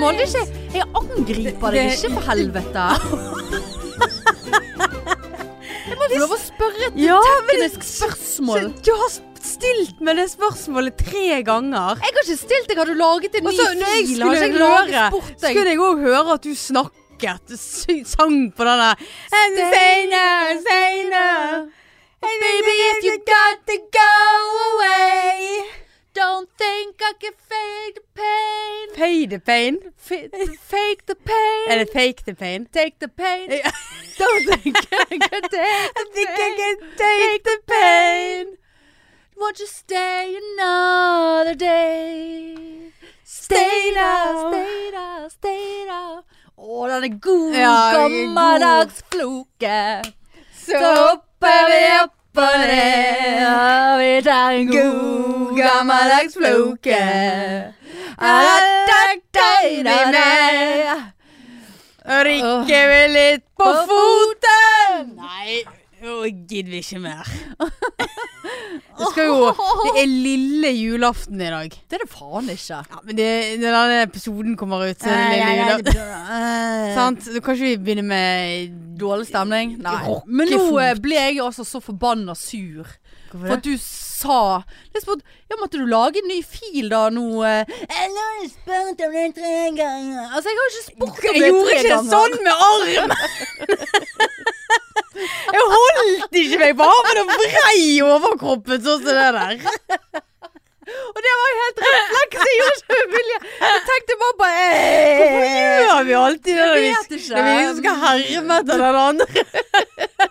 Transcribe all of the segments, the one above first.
må det ikke Jeg angriper deg ikke, for helvete. Jeg må få lov å spørre et Ja, men teknisk spørsmål. du har stilt meg det spørsmålet tre ganger. Jeg har ikke stilt deg. Har du laget en ny Og så når jeg fil? Har ikke skulle jeg høre, laget bort deg? skulle jeg òg høre at du snakket, sy- sang på denne Steinar, Steinar. Baby, if you got to go away Don't think I can fake the pain Pay the pain. F- Fake the pain Er det fake the pain? Take the pain Ja. Don't think I can take the pain take the pain. Won't you stay another day Stay now, stay now, stay now Å, den er god, Ja, den er god. gammeldagsfloke Så Så hopper vi opp og ned, og vi tar en god gammeldags floke. Nei, Rikke vil litt på foten. Nei, nå gidder vi ikke mer. Det skal jo Det er lille julaften i dag. det er det faen ikke. Ja, men det, Når denne episoden kommer ut, så er det lille julaften. Sant? Sant? Du kan ikke vi begynne med Dårlig stemning? Nei. Rockefot. Men nå eh, ble jeg altså så forbanna sur. For at du sa Jeg spurte ja, måtte du lage en ny fil da nå. eh? Jeg har spurt om det tre ganger. Altså, jeg har ikke spurt om det tre Jeg ganger. gjorde ikke sånn med armen! Jeg holdt ikke meg på armen og vrei overkroppen sånn som det der. Og det var helt refleks. Jeg gjorde ikke med vilje. Jeg tenkte bare på eh, Hvorfor gjør vi alltid det når vi, Jeg vet ikke. når vi liksom skal herme etter den andre?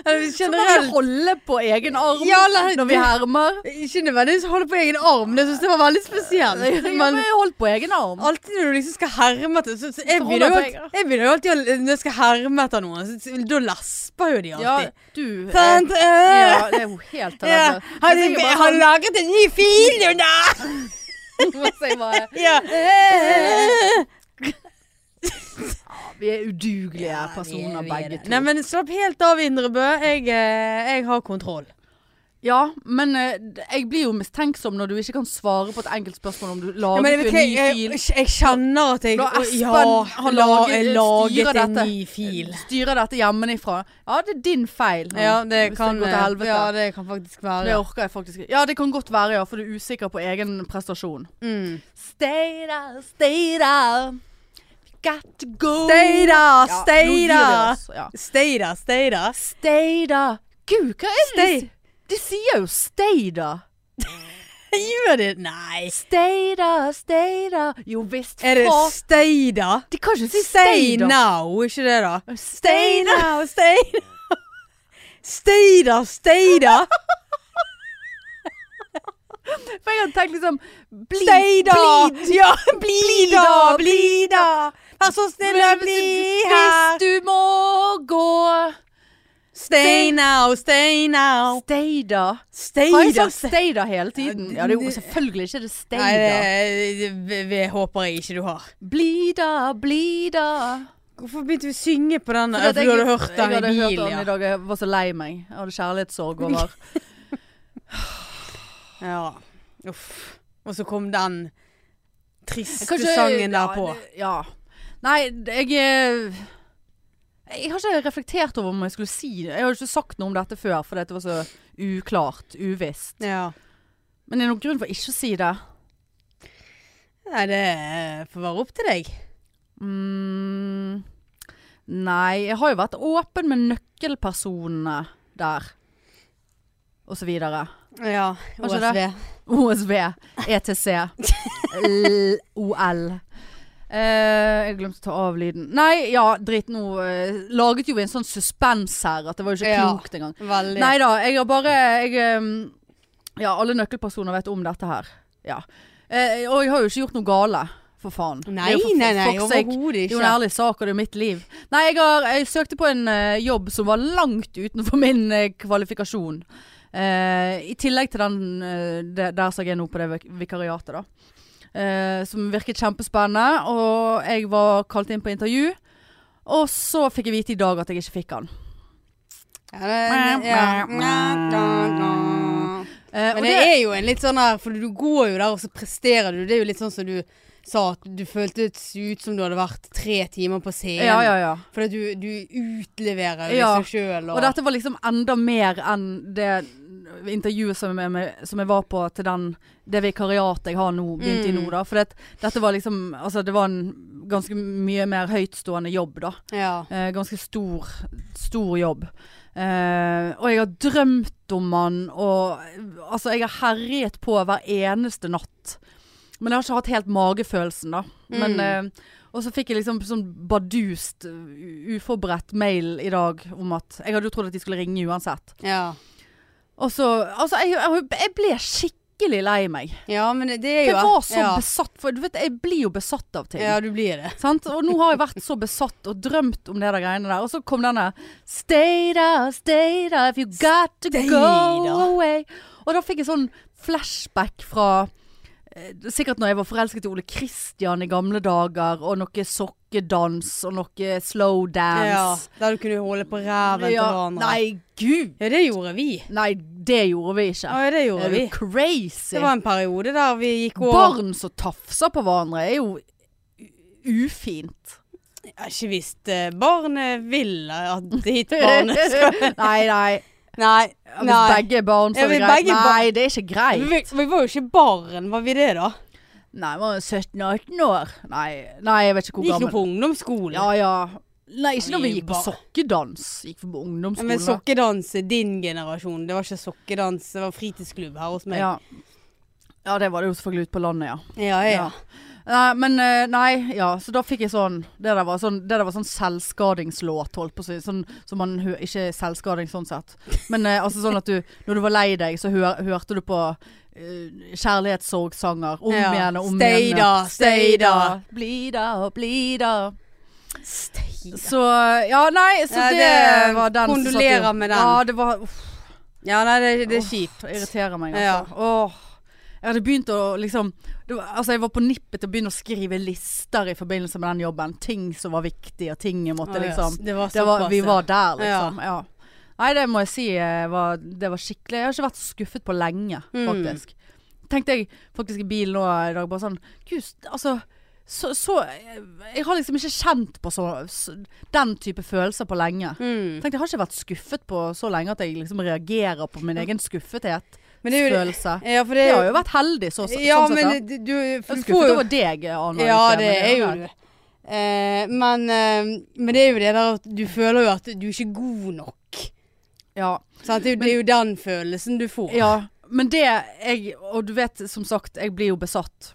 Eller hvis Så må vi generelt holde på egen arm Ja, eller- når vi hermer. Ikke nødvendigvis holde på egen arm, det syns jeg var veldig spesielt. Ja, Men men holdt på egen arm. alltid når du liksom skal herme etter så, så jeg, Så holder begynner jo på alltid, egen. jeg begynner jo alltid å Når jeg skal herme etter noen, så- så- da lesper jo de Ja, alltid. du eh, Sant? ja, det er jo helt Altså, Ja. annet. Har du har du sånn- laget en ny fil, jo da? Ja. Vi er udugelige personer, begge to. Nei, men slapp helt av, Indrebø. Jeg, eh, jeg har kontroll. ja, men eh, d- jeg blir jo mistenksom når du ikke kan svare på et enkelt spørsmål om du laget men, jo en ny fil. kjenner at jeg Når Espen ja, har har laget- laget, laget styrer en dette. ny fil. Styrer dette hjemmefra. Ja, det er din feil. nå, Ja, det hvis kan, eh, det går til helvete. ja, det kan faktisk Det være. orker jeg faktisk ikke. Ja, det kan godt være, ja, for du er usikker på egen prestasjon. Mm. Stay there, stay there. Got to go. Stay da, Ja, stay nå gir vi da. oss, ja. Stay da, stay da. Stay da. Gud, hva er det de Stay. sier? De sier jo stay da. Gjør det? Nei. Stay da, stay da. Jo visst, Er det faen. stay da? De kan ikke si Stay stay da. now, ikke det da? Stay da. now, stay now. Stay da, stay da. For jeg hadde tenkt liksom bli, Stay da. bli- Ja, bli da, bli da. Vær så snill å Men bli Hvis her. du må gå. Stay now, stay now. Stay da. Stay Har jeg da. sagt stay da hele tiden? Ja, det er jo selvfølgelig ikke det stay Nei, da. det, det, det håper jeg ikke du har. Bli da, bli da. Hvorfor begynte vi å synge på den? Fordi at For du hadde hørt den i Jeg hadde bilen, hørt den ja. i dag, jeg var så lei meg. Jeg hadde kjærlighetssorg over. Ja. Uff. Og så kom den triste Kanskje- sangen der på. Ja, det- ja. Nei, det- jeg eh, Jeg har ikke reflektert over om jeg skulle si det. Jeg har ikke sagt noe om dette før, fordi at det var så uklart, uvisst. Ja. Men det er noen grunn for ikke å si det. Nei, det eh, får være opp til deg. Mm, nei, jeg har jo vært åpen med nøkkelpersonene der. Og så videre. Ja. OSV. OSV, ETC, E L- OL. Eh, jeg glemte å ta av lyden. Nei, ja, drit nå. eh, laget jo en sånn suspens her at det var jo ikke Ja. klokt engang. Veldig. Nei da, jeg har bare jeg, ehm, Ja, alle nøkkelpersoner vet om dette her. Ja. Eh, og jeg har jo ikke gjort noe gale, for faen. Det er nei, jo for- for nei, nei, fuck's sake. overhodet Det er jo ikke. en ærlig sak, og det er mitt liv. Nei, jeg, har, jeg søkte på en eh, jobb som var langt utenfor min eh, kvalifikasjon. Eh, I tillegg til den eh, det, Der sa jeg nå på det vik- vikariatet, da. Eh, som virket kjempespennende, og jeg var kalt inn på intervju. Og så fikk jeg vite i dag at jeg ikke fikk han. Ja, det, Eh, ja. og Eh, Men det er jo en litt sånn her, for du går jo der og så presterer du. Det er jo litt sånn som du sa at du føltes ut som du hadde vært tre timer på scenen. Ja, ja, ja. Fordi du, du utleverer Ja. deg sjøl. Og dette var liksom enda mer enn det intervjuet som jeg, med- som jeg var på til den, det vikariatet jeg har nå, begynte i nå, da. For det, dette var liksom Altså, det var en ganske mye mer høytstående jobb, da. ja. Eh, ganske stor, stor jobb. Eh, og jeg har drømt om han, og altså, jeg har herjet på hver eneste natt. Men jeg har ikke hatt helt magefølelsen, da. Men, Mm. eh, og så fikk jeg liksom sånn bardust, u- uforberedt mail i dag om at Jeg hadde jo trodd at de skulle ringe uansett. ja. Og så Altså, jeg, jeg, jeg ble skikkelig lei meg. Ja, men det For er jo jeg var så ja. besatt, for du vet, jeg blir jo besatt av ting. Ja, du blir det. Sant? Og nå har jeg vært så besatt og drømt om det der greiene der. Og så kom denne Stay da, stay da, if you got to Stay go da. away. Og da fikk jeg sånn flashback fra eh, Sikkert når jeg var forelsket i Ole Kristian i gamle dager, og noe sokkedans og noe Ja, slowdance. der du kunne holde på ræven til hverandre. Nei, gud! Ja, det gjorde vi. Nei, det gjorde vi ikke. Ja, det gjorde er du vi. crazy? Det var en periode der vi gikk over Barn som tafser på hverandre er jo u- ufint. Jeg har ikke visst eh, barnet vil at ditt barn skal nei, nei. Nei. Ja, Hvis nei. begge er barn, så Ja, er det hvis greit. begge er Nei, det er ikke greit. Men Vi, vi var jo ikke barn, var vi det da? Nei, man er 17-18 år. Nei, nei, jeg vet ikke Vi hvor gikk jo gammel. på ungdomsskolen. Ja, ja. Nei, ikke når vi gikk på Bare- sokkedans. Gikk vi på Ja, men ungdomsskolen. da. sokkedans er din generasjon. Det var ikke sokkedans, det var fritidsklubb her hos meg. ja. ja, det var det jo selvfølgelig ute på landet, ja. ja. ja. Ja. Nei, men eh, nei, ja. Så da fikk jeg sånn Det der var sånn, det der var sånn selvskadingslåt, holdt på å si. Sånn som man hø Ikke selvskading sånn sett. Men eh, altså sånn at du Når du var lei deg, så hø hørte du på eh, kjærlighetssorgsanger om Ja. igjen og om Stay igjen. da, stay da. Bli da, bli da. Stein. Så eh, Ja, nei, så Ja, det, det- var den som satt i- kondolerer med den. Ja, det var uff, Ja, nei, det, det er Uff. kjipt. det irriterer meg, altså. Åh. Jeg hadde begynt å liksom det var, Altså, jeg var på nippet til å begynne å skrive lister i forbindelse med den jobben. Ting som var viktig, og ting jeg måtte Å, ja, liksom Det var det var, såpass, Vi ja. var der, liksom. Ja. Nei, det må jeg si eh, var, det var skikkelig Jeg har ikke vært så skuffet på lenge, Mm. faktisk. Tenkte jeg faktisk i bilen nå i dag, bare sånn Gud, altså så, så Jeg har liksom ikke kjent på så, så, den type følelser på lenge. Mm. Tenkte, jeg har ikke vært skuffet på så lenge at jeg liksom reagerer på min egen skuffethetsfølelse. Men det er jo Ja, for det Jeg er har jo jo vært heldig, så, så, Ja, sånn sett. men da. det- du Jeg er for du får skuffet jo over deg, Anna. Ja, ikke, det men er jo greit. du. Eh, men, eh, men det er jo det der at du føler jo at du er ikke er god nok. Ja. Sant? Det, er jo- det er jo den følelsen du får. Ja, men det jeg, Og du vet, som sagt, jeg blir jo besatt.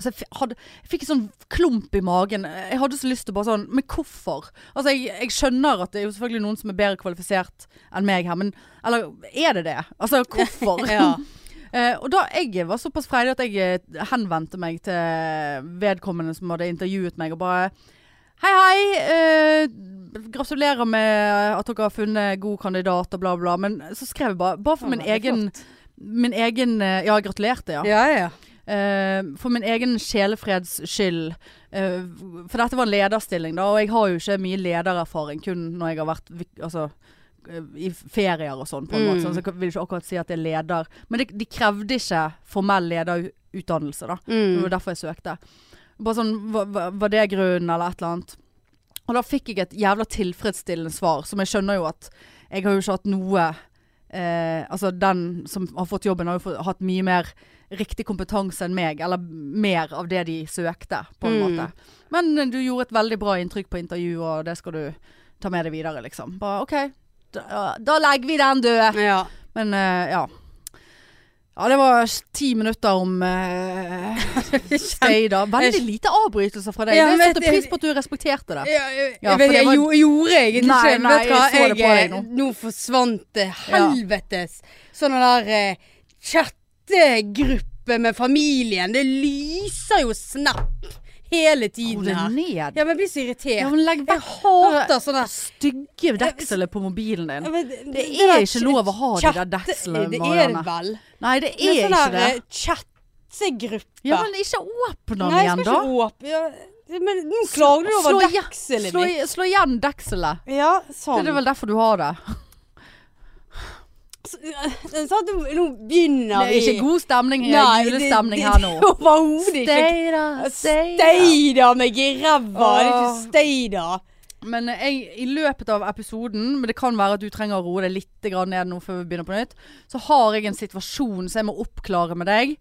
Så jeg, fi- hadde, jeg fikk en sånn klump i magen. Jeg hadde så lyst til å bare sånn Men hvorfor? Altså, jeg, jeg skjønner at det er jo selvfølgelig noen som er bedre kvalifisert enn meg her, men Eller er det det? Altså, hvorfor? Ja. Eh, og da jeg var såpass freidig at jeg eh, henvendte meg til vedkommende som hadde intervjuet meg, og bare Hei, hei. Eh, gratulerer med at dere har funnet god kandidat og bla, bla. Men så skrev jeg bare, bare for Ja, min veldig egen Min egen eh, Ja, jeg gratulerte, ja. Ja, ja. Eh, for min egen sjelefreds skyld. eh, for dette var en lederstilling, da, og jeg har jo ikke mye ledererfaring kun når jeg har vært vik- altså, eh, i ferier og sånn, på en Mm. måte. Sånn, så jeg vil ikke akkurat si at jeg er leder. Men det, de krevde ikke formell lederutdannelse, da. Det Mm. var derfor jeg søkte. Bare sånn, var, var- var det grunnen, eller et eller annet? Og da fikk jeg et jævla tilfredsstillende svar, som jeg skjønner jo at jeg har jo ikke hatt noe eh, Altså, den som har fått jobben, har jo fått, hatt mye mer riktig kompetanse enn meg, eller mer av det de søkte, på en Mm. måte. Men eh, du gjorde et veldig bra inntrykk på intervjuet, og det skal du ta med deg videre, liksom. Bare OK, da, da legger vi den død. ja. Men eh, ja. Ja, det var s- ti minutter om uh, stay, da. Veldig lite avbrytelser fra deg. Ja, jeg men setter det- pris på at du respekterte det. Ja, jeg, Ja, jeg, for vet- det jeg var- gjo- gjorde egentlig Nei, ikke nei, Vet du hva, jeg så det på eh, deg nå. nå forsvant det helvetes. Sånne der eh, chattegruppe med familien. Det lyser jo snap hele Ro tiden det her. ned. Ja, men jeg blir så irritert. Ja, men legg jeg vekk hater sånn sånne stygge dekselet på mobilen Ja, din. men Det der er ikke lov å ha de der chatte- dekslene, Det er Marianne. det vel. Nei, det Men er ikke sånn det. der eh, chattegruppe. Ja, men ikke åpne den Nei, jeg igjen, skal da. ikke åpne ja, Men nå klager du Slå over igjen- dekselet Slå, i- ditt. slå igjen dekselet. Ja, Det sånn. er vel derfor du har det. Den sa eh, at nå begynner Det er ikke god stemning, eh, Nei, det- julestemning det- her nå. Overhodet ikke. Stay da, stay da. Steida meg i ræva! Det er ikke Åh. steida. Men eh, jeg, i løpet av episoden, men det kan være at du trenger å roe deg litt grann ned nå før vi begynner på nytt, så har jeg en situasjon som jeg må oppklare med deg.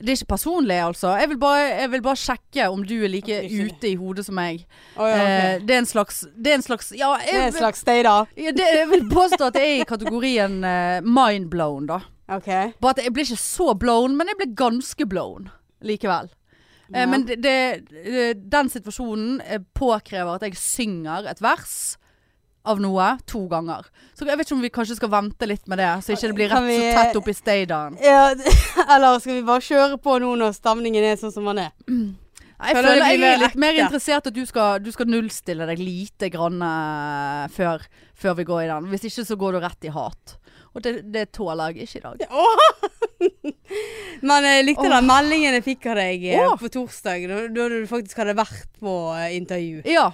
Det er ikke personlig, altså. Jeg vil bare, jeg vil bare sjekke om du er like Ikke det. ute i hodet som meg. Å, ja, Eh, ok. det er en slags Det er en slags Ja, jeg, Det er en slags steida. ja, det, jeg vil påstå at jeg er i kategorien eh, mind blown, da. OK. Bare at jeg ble ikke så blown, men jeg ble ganske blown likevel. Eh, Ja. men det, det, eh, den situasjonen eh, påkrever at jeg synger et vers av noe to ganger. Så jeg vet ikke om vi kanskje skal vente litt med det, så ikke det blir Kan rett så vi- tett opp i stadion. Ja, eller skal vi bare kjøre på nå når stemningen er sånn som den er? Jeg Føler det føler blir jeg er mer litt mer ekte. interessert at du skal, du skal nullstille deg lite grann eh, før, før vi går i den. Hvis ikke så går du rett i hat. Og det, det tåler jeg ikke i dag. Åh! Men jeg likte den meldingen jeg fikk av deg eh, Åh. på torsdag, da, da du faktisk hadde vært på eh, intervju. Ja.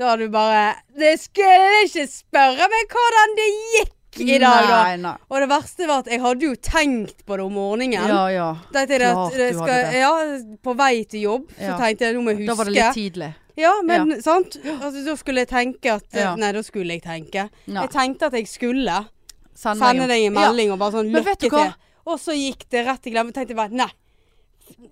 Da hadde du bare 'Det skulle ikke spørre meg hvordan det gikk i dag', da. Nei, nei. Og det verste var at jeg hadde jo tenkt på det om morgenen. Ja, ja. Da tenkte jeg at Klart det du skal, hadde det. ja, på vei til jobb, så Ja. tenkte jeg nå må jeg huske. Da var det litt tidlig. Ja, men sant? Altså, da skulle jeg tenke at Ja. Nei, da skulle jeg tenke. Nei. Jeg tenkte at jeg skulle Send sende deg en Ja. melding og bare sånn Men lykke vet du til. hva? Og så gikk det rett i glemmen. Tenkte jeg bare nei.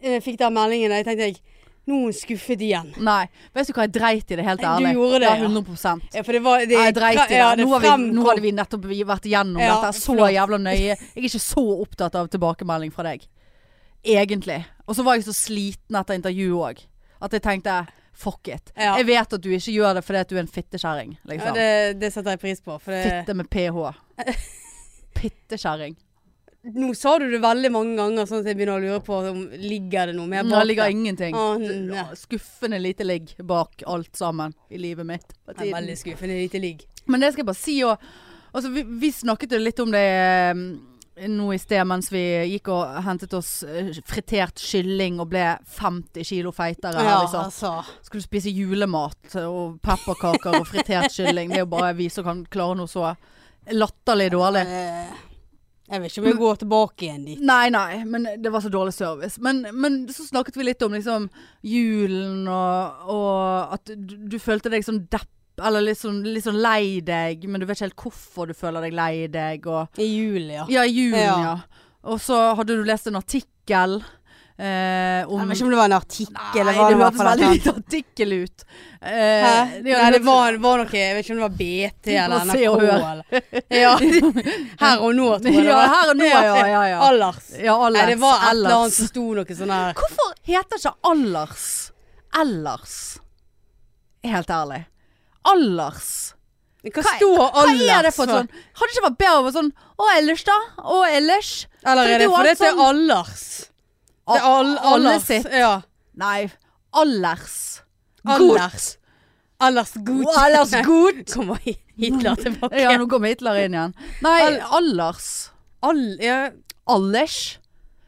Jeg fikk den meldingen, og jeg tenkte jeg nå er hun skuffet igjen. Nei, vet du hva jeg dreit i det, helt Du ærlig? gjorde det, ja. ja. 100 Ja, for det var det, Nei, jeg dreit i det. Ja, nå, har vi, nå fremkom. hadde vi nettopp vært igjennom Ja, dette så flott. jævla nøye. Jeg er ikke så opptatt av tilbakemelding fra deg. Egentlig. Og så var jeg så sliten etter intervjuet òg. At jeg tenkte fuck it. Ja. Jeg vet at du ikke gjør det fordi at du er en fittekjerring. ja, Liksom. det, det setter jeg pris på. For det, Fitte med ph. Pittekjerring. nå sa du det veldig mange ganger, sånn at jeg begynner å lure på om ligger det noe mer Nå bak ligger det. ingenting. Å, nei. Skuffende lite ligg bak alt sammen i livet mitt. for Jeg er tiden. veldig skuffende lite ligg. Men det skal jeg bare si og, altså, vi, vi snakket jo litt om det eh, nå i sted mens vi gikk og hentet oss eh, fritert kylling og ble 50 kilo feitere. her vi satt. altså. Skulle spise julemat og pepperkaker og fritert kylling. Det er jo bare vi som kan klare noe så latterlig dårlig. Eh, Jeg vet ikke om jeg går tilbake igjen dit. Nei, nei, men det var så dårlig service. Men, men så snakket vi litt om liksom julen og, og at du, du følte deg sånn depp, eller litt sånn, litt sånn lei deg, men du vet ikke helt hvorfor du føler deg lei deg. Og, I juli, ja. ja, i julen, Ja. ja. Og så hadde du lest en artikkel eh, om Jeg vet ikke om det var en artikkel. Nei, eller det hva det var hørtes for veldig noe. lite artikkel ut. Eh, Hæ? ja, Nei, det var, var noe Jeg vet ikke om det var BT eller Se og NRK. Hør. Eller. Ja. Her og nå, tror jeg. det Ja, var. her og nå, ja, ja, ja. Allers. Ja, Alex. Nei, det var et eller annet ellers. som sto noe sånn her Hvorfor heter ikke Allers Ellers? Helt ærlig. Allers. Hva Hva- sto Hva Allers er det for et sånn? Hadde det ikke vært bedre å være sånn Å, ellers da? Å, ellers? For Eller er det det er jo for alt det til sånn- Allers? Det er A- all, alle Allers. sitt. Ja. Nei. Allers. Allers. Allers Gut. Å, Allers Gut. Kommer Hitler tilbake. Ja, nå kommer Hitler inn igjen. Nei, All- Allers. All, ja. Allers.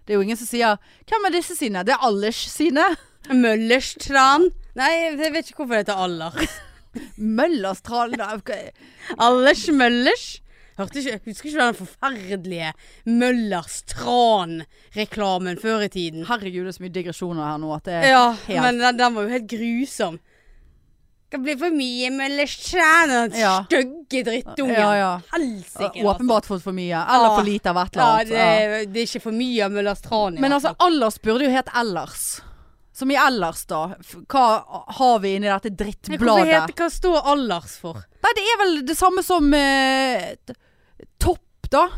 Det er jo ingen som sier 'Hvem er disse sine?' Det er Allers sine. Møllerstran. Nei, jeg vet ikke hvorfor det heter Allers. Møllerstrand da, ok. Allers Møllers. Hørte ikke, jeg husker ikke den forferdelige Møllerstran-reklamen før i tiden. Herregud, det er så mye digresjoner her nå at det er Ja, helt- men den, den var jo helt grusom. Det blir for mye Møllerstran og den Ja. stygge drittungen. Ja, ja. Helsike. åpenbart fått for mye. Eller for Ah. lite av et altså. Ja, eller annet. det, Ja. det er ikke for mye av Møllerstran. i Men hvert altså, fall. ellers burde jo hett ellers. Som i ellers, da. F- Hva har vi inni dette Men Hvorfor drittbladet? heter, hva står Allers for? Nei, det er vel det samme som eh, t- topp, da.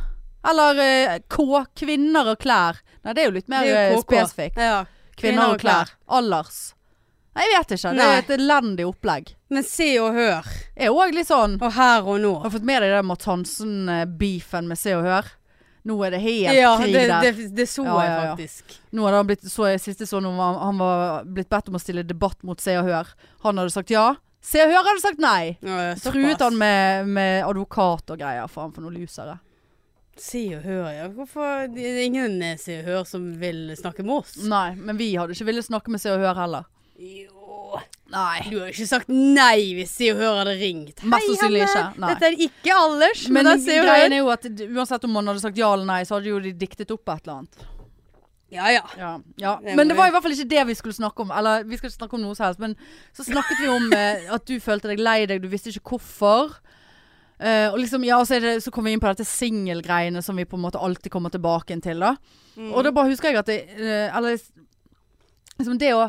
Eller eh, K. Kvinner og klær. Nei, det er jo litt mer Det er eh, jo KK. spesifikt. Ja. Kvinner og klær. Allers. Nei, jeg vet ikke. Det Nei. er et elendig opplegg. Men se og hør. Er òg litt sånn Og her og nå. Har du fått med deg den Mads Hansen-beefen med Se og Hør? Nå er det helt Ja, krig det, der. det, det så Ja, ja, jeg ja. faktisk. Nå hadde han blitt, så jeg siste sånn om han, han var blitt bedt om å stille debatt mot Se og Hør. Han hadde sagt ja. Se og Hør hadde sagt nei. Ja, såpass. Truet han med, med advokat og greier. Faen, for noen lusere. Se og hør, ja. Hvorfor det er ingen eh, Se og Hør som vil snakke med oss? Mm. Nei, men vi hadde ikke villet snakke med Se og Hør heller. Jo Nei. Du har jo ikke sagt nei hvis Se og Hør hadde ringt. Mest Hei, sannsynlig Hanne. ikke, nei. Dette er ikke Anders, men, Men da Se og greien Hør. er jo at d- uansett om man hadde sagt ja eller nei, så hadde jo de diktet opp et eller annet. Ja, ja. Ja. ja. Det må Men det var i vi. hvert fall ikke det vi skulle snakke om. Eller vi skal ikke snakke om noe som helst, men så snakket vi om eh, at du følte deg lei deg, du visste ikke hvorfor. Eh, og liksom, ja, så, er det, så kom vi inn på dette singelgreiene som vi på en måte alltid kommer tilbake til. da Mm. Og da bare husker jeg at det, eh, Eller liksom det å,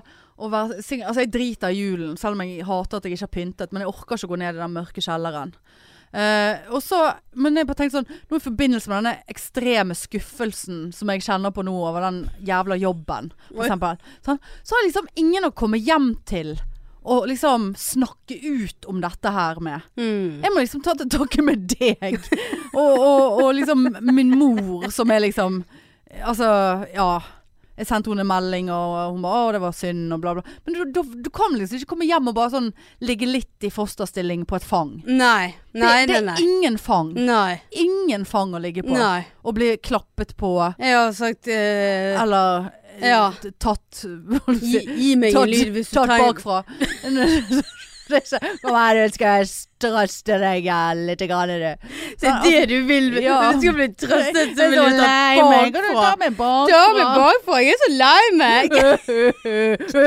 å være singel Altså, jeg driter i julen, selv om jeg hater at jeg ikke har pyntet, men jeg orker ikke å gå ned i den mørke kjelleren. Eh, og så, men jeg bare tenkte sånn Nå i forbindelse med denne ekstreme skuffelsen som jeg kjenner på nå over den jævla jobben, for Oi. eksempel, sånn, så har jeg liksom ingen å komme hjem til og liksom snakke ut om dette her med. Mm. Jeg må liksom ta til takke med deg. Og, og, og liksom min mor, som er liksom Altså, ja. Jeg sendte henne en melding, og hun bare 'Å, det var synd', og bla, bla. Men du, du, du kan liksom ikke komme hjem og bare sånn ligge litt i fosterstilling på et fang. Nei. Nei, det, det nei, er nei. ingen fang. Nei. Ingen fang å ligge på. nei. Og bli klappet på, Jeg har sagt eh, eller eh, Ja. t- tatt hva du gi, sier, gi meg en Tatt, lyd hvis du tatt tar bakfra. Det er ikke- Kom her, nå skal jeg straste deg eh, litt. Grann, du. altså, Det er det du vil. Hvis Ja. du skal bli trøstet, så Jeg vil er du ta lei meg. Kan du bakfra. ta meg bakfra? Ta meg bakfra. Jeg er så lei meg. Du,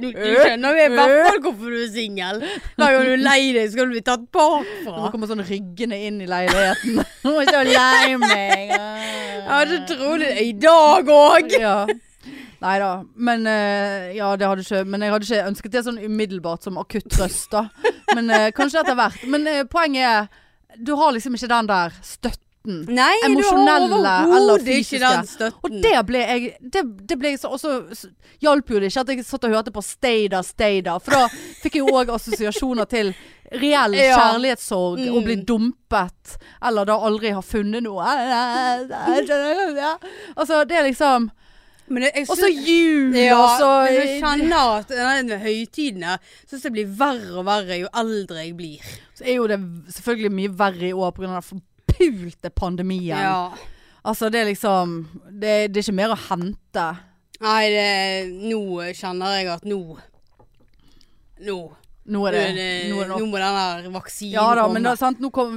du skjønner jo i hvert fall hvorfor du er singel. Hver gang du er lei deg, skal du bli tatt Nå bakfra. kommer sånn ryggende inn i leiligheten. Nå er jeg så lei meg. Ja, det tror jeg. I dag òg. Ja. Nei da. Men eh, ja, det hadde ikke Men jeg hadde ikke ønsket det sånn umiddelbart som akutt trøst, da. Men eh, kanskje etter hvert. Men eh, poenget er du har liksom ikke den der støtten. Nei, Emosjonelle eller fysiske. ikke den støtten. Og det ble jeg Det, det ble jeg så Og så s- hjalp jo det ikke at jeg satt og hørte på Steida, Steida. For da fikk jeg jo òg assosiasjoner til reell Ja. kjærlighetssorg. Mm. Å bli dumpet. Eller da aldri har funnet noe. Altså, det er liksom Men jeg, jeg Og så syns- jul, ja, og så men jeg kjenner at denne høytidene syns jeg blir verre og verre jo eldre jeg blir. Så er jo det selvfølgelig mye verre i år pga. den forpulte pandemien. Altså, det er liksom det, det er ikke mer å hente. Nei, det, nå kjenner jeg at nå Nå. Nå er det, nå er det nok. nå må den der vaksinen Ja da, komme. men da, sant, nå kom,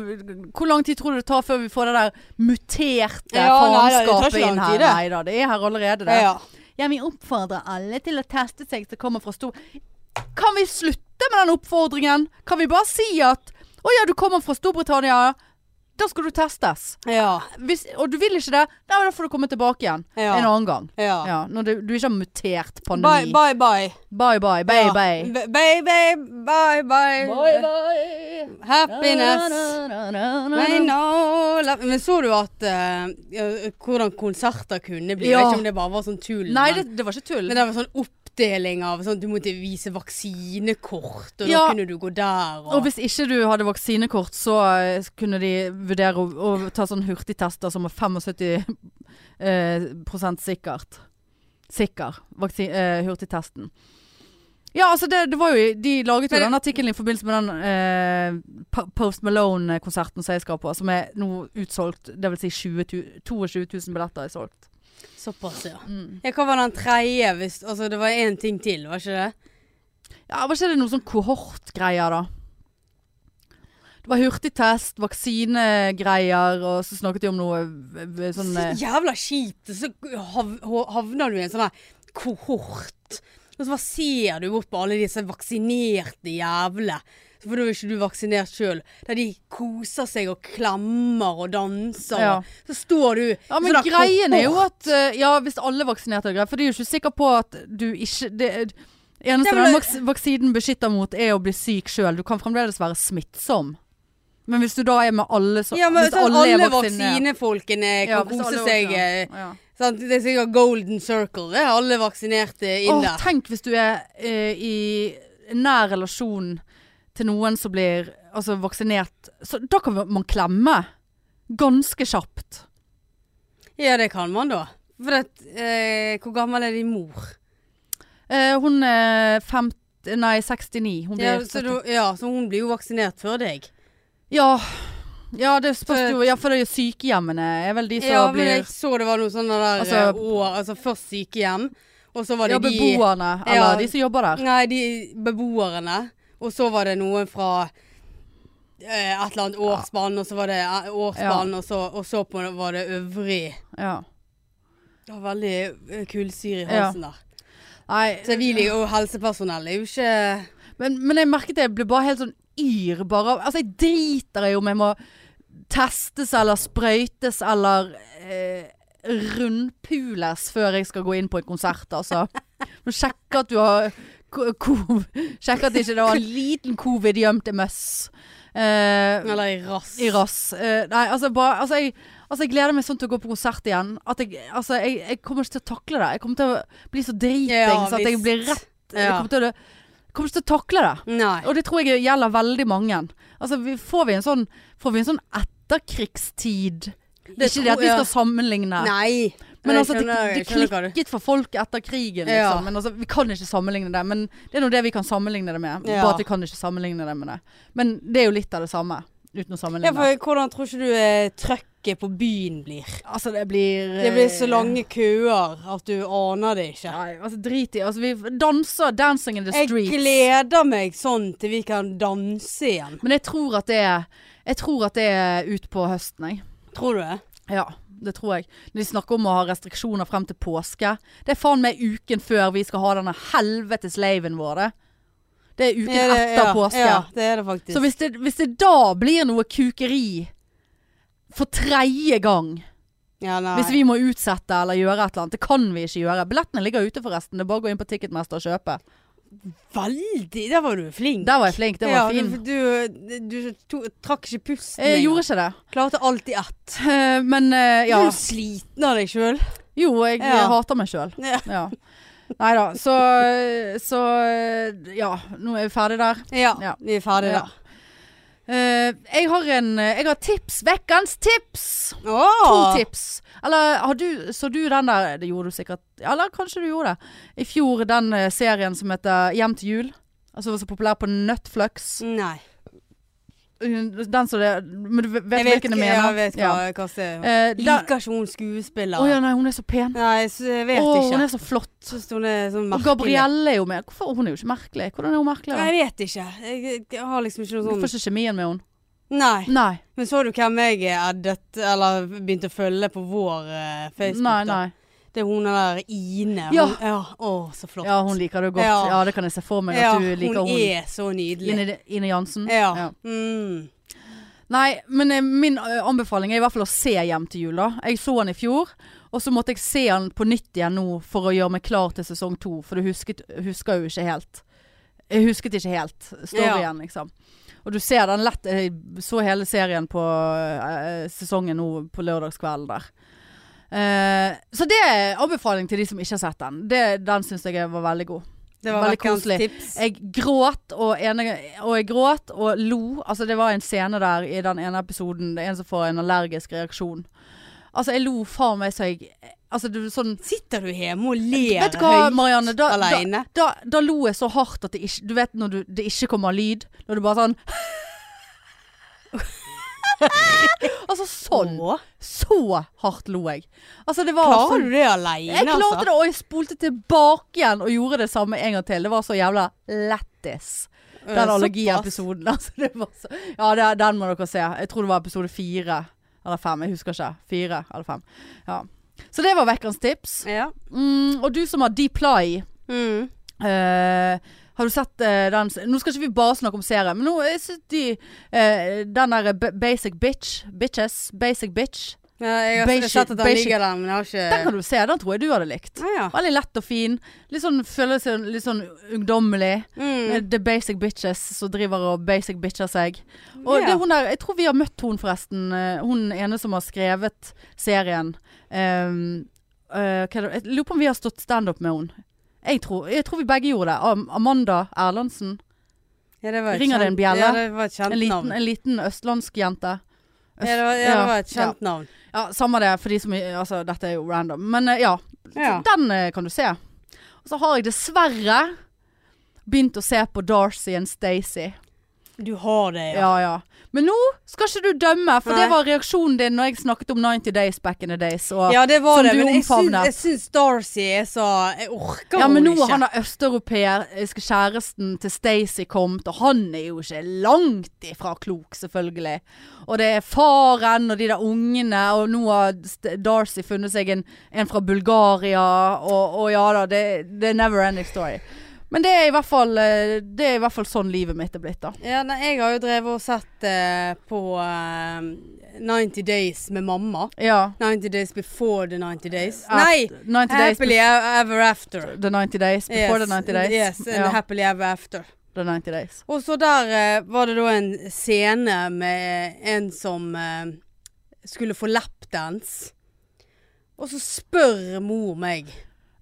hvor lang tid tror du det tar før vi får det der muterte Ja, nei da, det tar faenskapet ikke lang inn tid, her? det. Nei da, det er her allerede, det. ja. Jeg vil oppfordre alle til å teste seg som kommer fra stor... Kan vi slutte med den oppfordringen? Kan vi bare si at å ja, du kommer fra Storbritannia, da skal du testes. Ja. Hvis, og du vil ikke det, da da får du komme tilbake igjen Ja. en annen gang. ja. Ja, når du, du ikke har mutert Bye, pandemi. Bye, bye, bye, bye. bye, bye. Ja. B- Bye, bye, bye, bye. bye. Happiness. Na, na, na, na, na. I know. La- Men så du at eh, ja, hvordan konserter kunne bli? Ja. Jeg vet ikke om det bare var sånn tull. Nei, men- det, det var ikke tull. Men det var sånn oppdeling av sånn, Du måtte vise vaksinekort, og Ja. da kunne du gå der. Og, eh, Og hvis ikke du hadde vaksinekort, så eh, kunne de vurdere å, å ta sånn hurtigtester som er 75 eh, prosent sikkert. Sikker. Vaksin, eh, hurtigtesten. Ja, altså det, det var jo De laget jo Men- den artikkelen i forbindelse med den eh, Pa- Post Malone-konserten som jeg skal på, som er nå utsolgt. Det vil si 20, tu- 22 000 billetter er solgt. Såpass, ja. ja. Hva var den tredje? Hvis, altså, det var én ting til, var ikke det? Ja, Var ikke det noe sånn kohortgreier, da? Det var hurtigtest, vaksinegreier, og så snakket de om noe v- v- sånn Så eh, jævla kjipt. Så hav, ho- havner du i en sånn her kohort. Og så bare ser du bort på alle disse vaksinerte jævlene. Så For da er ikke du vaksinert sjøl. Der de koser seg og klemmer og danser. Ja. Så står du Ja, men sånn der greien er jo kohort. at eh, Ja, hvis alle vaksinerte er greit, for de er jo ikke sikre på at du ikke det, Eneste Det er vel- den vaks vaksinen beskytter mot, er å bli syk sjøl. Du kan fremdeles være smittsom. Men hvis du da er med alle som ja, men Hvis er sånn, alle vaksinert- vaksinefolkene kan Ja, hvis alle er kose seg. vaksinert. eh, ja. Sant? Det er sikkert golden circle. Det er alle Åh, vaksinerte inne. tenk hvis du er eh, i nær relasjon til noen som blir altså, vaksinert. Så da kan man klemme ganske kjapt. ja, det kan man da. For at, eh, hvor gammel er din mor? Eh, hun er 50, nei, 69. Hun blir Ja 70. så, du, ja, så hun blir jo vaksinert før deg. ja. ja, det spørs For- jo. Ja, for det er jo sykehjemmene er vel de som ja, men blir jeg så det var noe sånn der Altså- eh, år, altså først sykehjem, Og så var det Ja, de beboerne, eller Ja. de som jobber der. Nei, de beboerne. Og så var det noen fra eh, et eller annet årsband, og så var det eh, årsband, og, så, og så på var det øvrig. Ja. Det var veldig eh, kullsyre i halsen der. Nei, Så vi ligger, og helsepersonell er jo ikke Men, men jeg merket det, jeg ble bare helt sånn yr bare av Altså, jeg driter i om jeg må testes eller sprøytes eller eh, rundpules før jeg skal gå inn på en konsert, altså. Men sjekke at du har ko- ko- Sjekke at ikke det var en liten covid gjemt i møss. Eh, Eller i rass. i rass. Eh, nei, altså, bare, altså, jeg, altså jeg gleder meg sånn til å gå på konsert igjen. At jeg, altså, jeg, jeg kommer ikke til å takle det. Jeg kommer til å bli så dritings at jeg visst. blir rett eh, Jeg Ja. kommer til å, jeg kommer ikke til å takle det. Nei. Og det tror jeg gjelder veldig mange. Altså, vi, får, vi en sånn, får vi en sånn etterkrigstid? Det er ikke tror det at vi jeg- skal sammenligne. Nei. Men Jeg altså, det, skjønner- det jeg skjønner hva du- klikket for folk etter krigen, liksom. Ja. Men altså, vi kan ikke sammenligne det. Men det er nå det vi kan sammenligne det med. Ja. Bare at vi kan ikke sammenligne det med det. Men det er jo litt av det samme. Uten å Ja, sammenligne. for hvordan tror ikke du eh, trøkket på byen blir? altså, det blir Det blir så eh, lange køer at du aner det ikke. Nei, altså drit i. Altså, vi danser 'Dancing in the Jeg Streets'. gleder meg sånn til vi kan danse igjen. Men jeg tror at det er Jeg tror at det er ut på høsten, jeg. Tror du det? Ja, det tror jeg. Når de snakker om å ha restriksjoner frem til påske. Det er faen meg uken før vi skal ha denne helvetes laven vår, det. Det er uken Ja, det- etter ja, påske. Ja, det er det faktisk. Så hvis det, hvis det da blir noe kukeri for tredje gang, ja, nei. hvis vi må utsette eller gjøre et eller annet, det kan vi ikke gjøre. Billettene ligger ute forresten, det er bare å gå inn på Ticketmaster og kjøpe. Veldig Der var du flink. Der var jeg flink, det var ja, fin. Du, du, du to, trakk ikke pusten. Jeg engang. gjorde ikke det. Klarte alt i ett. Eh, Men eh, ja. Du er jo sliten av deg sjøl. Jo, jeg eh, Ja. hater meg sjøl. Ja. Ja. Nei da, så, eh, så eh, Ja, nå er vi ferdig der. Ja. ja. Vi er ferdige Ja. der. Eh, jeg har en eh, Jeg har tips. Vekkens tips! To Åh! tips. Eller har du, så du den der Det gjorde du sikkert. Eller kanskje du gjorde det. I fjor den eh, serien som heter Hjem til jul. Altså var så populær på Netflix. Nei. Den som det Men du vet, Jeg vet, hvilken ikke- jeg mener? Jeg vet hva, hva det er. Eh, der- Liker ikke hun skuespiller? Å ja, nei, hun er så pen. Nei, så jeg Å, vet hun ikke. er så flott. Syns hun er sånn Og merkelig. Gabrielle er jo med. Hvorfor? Hun er jo ikke merkelig. Hvordan er hun merkelig? da? Nei, Jeg vet ikke. Jeg, jeg har liksom ikke Du noe får sånn ikke kjemien med henne. Nei. Nei. Men så du hvem jeg eddet, eller begynte å følge på vår eh, Facebook? Nei, da? nei. Det er hun der Ine. Ja. Hun, ja. Å, så flott. Ja, hun liker det godt. Ja, Ja. det kan jeg se for meg at Ja, du liker hun. er så nydelig. Ine, Ine Jansen. Ja. Ja. Mm. Nei, men eh, min eh, anbefaling er i hvert fall å se Hjem til jul, da. Jeg så den i fjor, og så måtte jeg se den på nytt igjen nå for å gjøre meg klar til sesong to, for du husket, husker jo ikke helt. Jeg husket ikke helt storyen, liksom. Og du ser den lett Jeg så hele serien på eh, sesongen nå på lørdagskvelden der. Eh, så det er anbefaling til de som ikke har sett den. Det, den syns jeg var veldig god. Det var Veldig veldig koselig. koselig. Tips. Jeg gråt og, ene, og jeg gråt og lo. Altså det var en scene der i den ene episoden. Det er en som får en allergisk reaksjon. Altså jeg lo faen meg så jeg Altså det var sånn Sitter du hjemme og ler Vet du hva, Marianne? Da, da, alene? da, da lo jeg så hardt at det ikke Du vet når du, det ikke kommer lyd? Når du bare sånn Altså sånn. Å, Så hardt lo jeg. Altså det var sånn- Klarer du det alene, altså? jeg klarte det, og jeg spolte tilbake igjen og gjorde det samme en gang til. Det var så jævla lættis. Eh, Den såpass. allergiepisoden. Altså, det var så... Ja, det, den må dere se. Jeg tror det var episode fire eller fem. Jeg husker ikke. Fire eller fem. Ja. Så det var vekkens tips. Ja. Mm, og du som har Deply Mm. eh, har du sett eh, den s- Nå skal ikke vi bare snakke om serien, men nå jeg synes de eh, Den der B- Basic Bitch Bitches. Basic Bitch. Ja, jeg har Basic- sett at den basic- ligger der, men jeg har ikke Den kan du se. Den tror jeg du hadde likt. ah, ja. Veldig lett og fin. Litt sånn, føler seg litt sånn ungdommelig. mm. Med The Basic Bitches som driver og basic bitcher seg. Og Ja. det er hun der, jeg tror vi har møtt hun forresten. eh, Hun ene som har skrevet serien. Ehm, eh, hva er det? Jeg lurer på om vi har stått standup med hun. Jeg tror, jeg tror vi begge gjorde det. Am- Amanda Erlandsen. ja, det var et Ringer det en kjent- bjelle? Ja, det var et kjent En liten, navn. en liten østlandsk jente. Ja, det var, ja, det var et Ja. kjent navn. Ja, samme det, for de som Altså, dette er jo random. Men eh, ja. Ja. Så Den eh, kan du se. Og så har jeg dessverre begynt å se på Darcy and Stacey. Du har det, ja. Ja, ja. Men nå skal ikke du dømme, for det Nei. var reaksjonen din når jeg snakket om 90 Days back in the days. Og, Ja, det var Som det, du men jeg syns, omfavner. jeg syns Darcy er så Jeg orker Ja, men nå henne har ikke. han der østeuropeiske kjæresten til Stacey kommet, og han er jo ikke langt ifra klok, selvfølgelig. Og det er faren og de der ungene, og nå har St- Darcy funnet seg en, en fra Bulgaria, og, og ja da, det, det er never ending story. Men det er, i hvert fall, eh, det er i hvert fall sånn livet mitt er blitt, da. Ja, nei, jeg har jo drevet og sett eh, på eh, 90 Days med mamma. Ja. 90 Days before the 90 Days. Nei! 90 days Happily ever after. before, the 90 days. Before Yes, the 90 days. Yes, and ja, happily ever after. the 90 days. Og så der eh, var det da en scene med en som eh, skulle få lapdance. Og så spør mor meg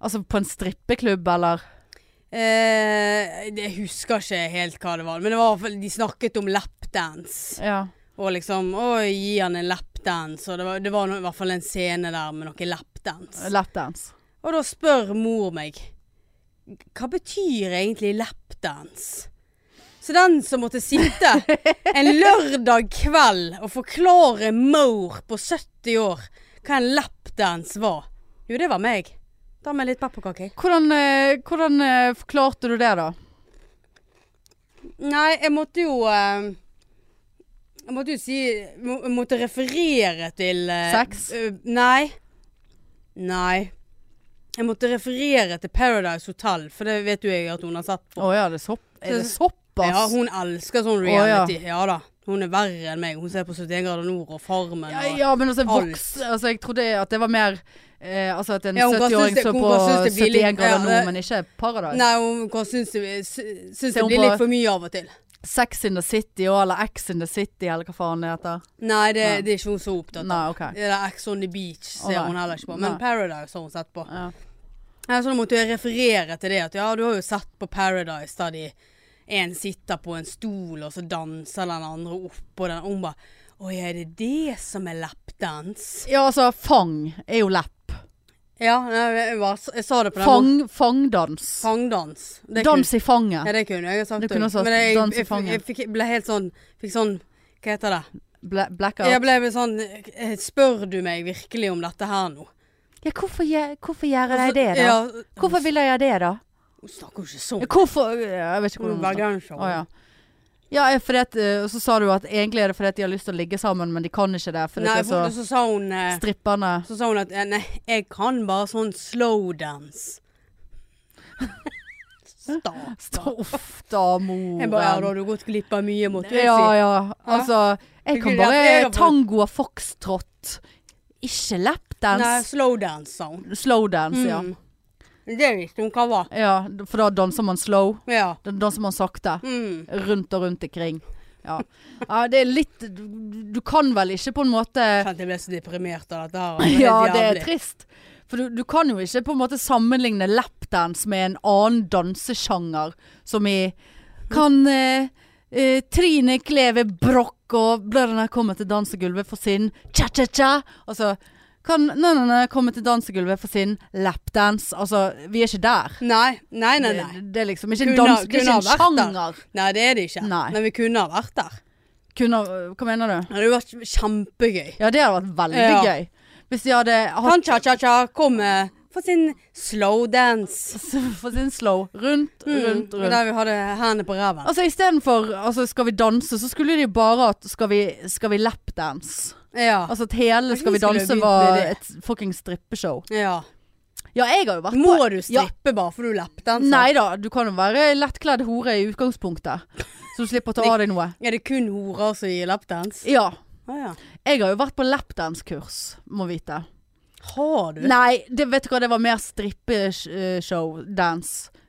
Altså på en strippeklubb, eller? Eh, jeg husker ikke helt hva det var, men det var, i hvert fall- de snakket om lapdance. Ja. Og liksom Oi, gi han en lapdance. Og det var, det var no, i hvert fall en scene der med noe lapdance. Lapdance. Og da spør mor meg Hva betyr egentlig lapdance? Så den som måtte sitte en lørdag kveld og forklare mor på 70 år hva en lapdance var Jo, det var meg. Da med litt pepperkaker. Hvordan, eh, hvordan eh, forklarte du det da? Nei, jeg måtte jo eh, Jeg måtte jo si må, Jeg måtte referere til eh, Sex? eh, nei. Nei. Jeg måtte referere til Paradise Hotel, for det vet jo jeg at hun har sett Å på. ja, det er, sopp, er det Så- såpass? Ja, hun elsker Å, sånn ja. reality. ja. da. Hun er verre enn meg. Hun ser på 71 grader nord og Farmen. ja, Og, ja, men altså, Alt. voks, altså jeg trodde at det var mer eh, Altså at en Ja, hun kan 70-åring synes det- så hun på kan synes det blir 71 litt- grader ja, nå, det- men ikke Paradise. Nei, hun kan synes det, sy- syns Ser det hun blir på- litt for mye av og til. Sex in the City og eller X in the City eller hva faen det heter. Nei, det, Nei. det er ikke hun så opptatt av. Nei, OK. Det der Ex on the Beach ser nei. hun heller ikke på. Men Nei. Paradise har hun sett på. Ja. Ja, så da måtte jeg referere til det at ja, du har jo sett på Paradise der de en sitter på en stol, og så danser den andre opp, og den og hun bare Oi, er det det som er lapdans? ja, altså fang er jo lepp. Ja, jeg, jeg, var, jeg sa det på den Fang, fangdans. Fangdans. Det Dans i Kunne, ja, fanget. det kunne jeg ha sagt. Du kunne også. også sagt Men jeg, jeg, dans i jeg, fanget. jeg, fikk, ble helt sånn Fikk sånn Hva heter det? Bla- Blackout. Jeg ble sånn eh, Spør du meg virkelig om dette her nå? Ja, hvorfor, gjør- hvorfor gjør Og jeg så- det, da? Ja, Hvorfor ville jeg det, da? Hun snakker jo ikke sånn. Hvorfor Jeg vet ikke Hun hvordan er man bergenser. Å ja. Ja, eh, fordi at, eh, og så sa du at egentlig er det fordi at de har lyst til å ligge sammen, men de kan ikke det. Fordi Nei, det er for, så så sa hun eh, stripperne Så sa hun at eh, nei, jeg kan bare sånn slowdance. Stakkar. Uff da, moren. Jeg bare, ja, da har du gått glipp av mye, måtte jeg ja, si. ja. Altså, jeg kan Gud, ja, jeg har bare fått- tango og foxtrot. Ikke Nei, lapdance. slowdance, sa hun. Slowdance, ja. Mm. Det visste hun hva var. ja. For da danser man slow. Ja. Da danser man sakte. Mm. Rundt og rundt ikring. Ja. ja, det er litt Du du kan vel ikke på en måte Jeg Kjente jeg ble så deprimert av dette her. helt Ja, det er jævlig. trist. For du, du kan jo ikke på en måte sammenligne lapdance med en annen dansesjanger. Som i Kan eh, eh, Trine Kleve Broch og Bløderne komme til dansegulvet for sin cha-cha-cha? Altså Kan Nønnene komme til dansegulvet for sin lapdance? Altså, vi er ikke der. Nei, nei, nei. nei. Det, det er liksom ikke en, Kunne- dans, det er kunne ikke ha en vært der. sjanger. Nei, det er det ikke. Nei. Men vi kunne ha vært der. Kunne, hva mener du? Det hadde vært kjempegøy. Ja, det hadde vært veldig Ja. gøy. Hvis de hadde hatt Kan cha-cha-cha komme for sin slowdance? for sin slow rundt, rundt, rundt. Mm, Der vi hadde hendene på ræven. Altså istedenfor altså, skal vi danse, så skulle de bare at skal vi, skal vi lapdance. Ja. Altså at hele Skal vi skulle danse begynt var med det. et fuckings strippeshow. ja. Ja, jeg har jo vært Må du Ja. strippe bare for du lapdanser? Nei da, du kan jo være lettkledd hore i utgangspunktet. Så du slipper å ta av deg noe. Er det kun horer som gir lapdans? Ja. Å ja. Jeg har jo vært på lapdance-kurs, må vite. Har du? Nei, det, vet du hva, det var mer eh, strippeshow,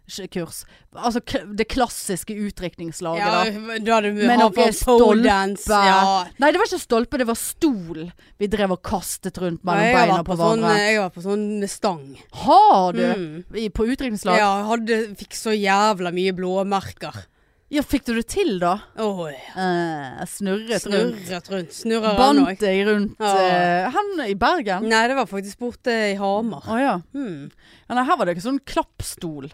dance-kurs. Altså k- det klassiske utdrikningslaget, da. Ja, da hadde vi Med hatt noe for poledance. stolpe. Ja. Nei, det var ikke stolpe, det var stol vi drev og kastet rundt mellom Ja, jeg har beina vært på sånn, hverandre. jeg var på sånn med stang. Har du? Mm. I, på Ja, utdrikningslag? Ja. jeg hadde, fikk så jævla mye blåmerker. fikk du det til da? Åh, Eh, snurret rundt. snurret rundt. Snurrer han Bandt òg. deg rundt Ja. Mm. eh, hen i Bergen? Nei, det var faktisk borte i Hamar. Å ja. Hmm. ja. Nei, her var det ikke sånn klappstol.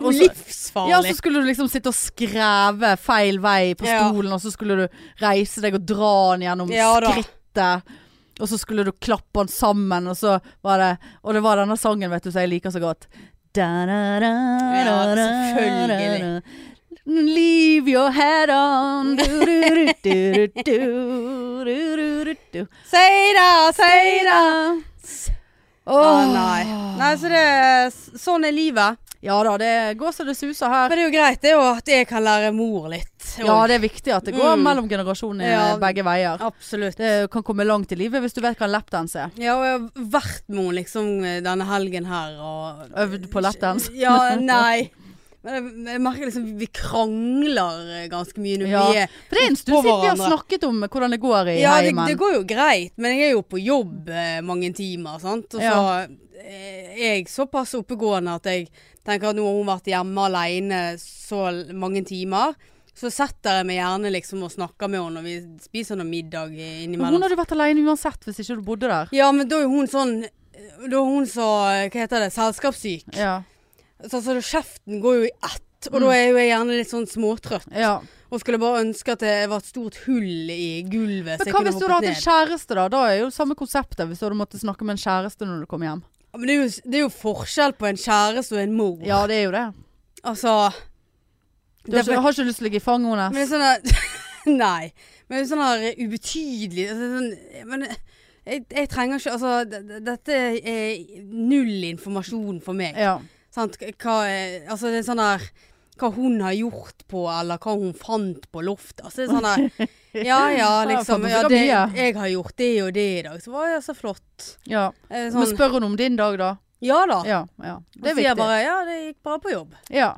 Og så- Livsfarlig. Ja, så skulle du liksom sitte og skreve feil vei på Ja. stolen, og så skulle du reise deg og dra den gjennom Ja da. skrittet. Og så skulle du klappe den sammen, og så var det Og det var denne sangen, vet du, som jeg liker så godt. Da, da, da, Ja, da, da, da. selvfølgelig. Leave your head on du, du, du, du, du, du, du, du, du, du. Say da, say da. Å, Åh. nei. nei, så det Sånn er livet. Ja da, det går så det suser her. Men det er jo greit, det er jo at jeg kan lære mor litt. Ja, det er viktig at det går Mm. mellom generasjonene Ja. begge veier. Absolutt. Det kan komme langt i livet hvis du vet hva en lapdance er. Ja, og jeg har vært med henne liksom denne helgen her og Øvd på lapdance. Ja, nei. Men jeg, jeg merker liksom vi krangler ganske mye når Ja, vi er For det er en stund På siden vi har hverandre. snakket om hvordan det går i Ja, det, heimen. det går jo greit, men jeg er jo på jobb eh, mange timer, sant. Og så Ja. eh, er jeg såpass oppegående at jeg tenker at nå har hun vært hjemme alene så l- mange timer. Så setter jeg meg gjerne liksom og snakker med henne, og vi spiser noe middag Men innimellom. hun hadde vært alene uansett hvis ikke du bodde der. Ja, men da er hun sånn Da er hun så Hva heter det? Selskapssyk. Ja. Så, så kjeften går jo i ett, og da er jo jeg gjerne litt sånn småtrøtt. ja. Og skulle bare ønske at det var et stort hull i gulvet. så Men jeg hva kunne hvis du hadde hoppet hatt en ned. kjæreste, da? Da er jo det samme konseptet hvis du hadde måttet snakke med en kjæreste når du kom hjem. Ja, Men det er, jo, det er jo forskjell på en kjæreste og en mor. Ja, det er jo det. Altså Du har det er ikke, har ikke lyst til å ligge i fanget Men det hennes. er sånn der Nei. Men det er sånn der ubetydelig altså, sånn, Men jeg, jeg trenger ikke Altså, d- d- dette er null informasjon for meg. Ja. Sant? K- Hva, eh, altså det er sånn der Hva hun har gjort på, eller hva hun fant på loftet. Altså det er sånn der Ja ja, liksom. fant Ja, sikkert det, mye. jeg har gjort det og det i dag. Så var jeg så flott. ja. Eh, Men Sånn, spør hun om din dag, da? ja da. Ja. ja. Det Det er sier viktig. jeg bare ja, det gikk bra på jobb. Ja.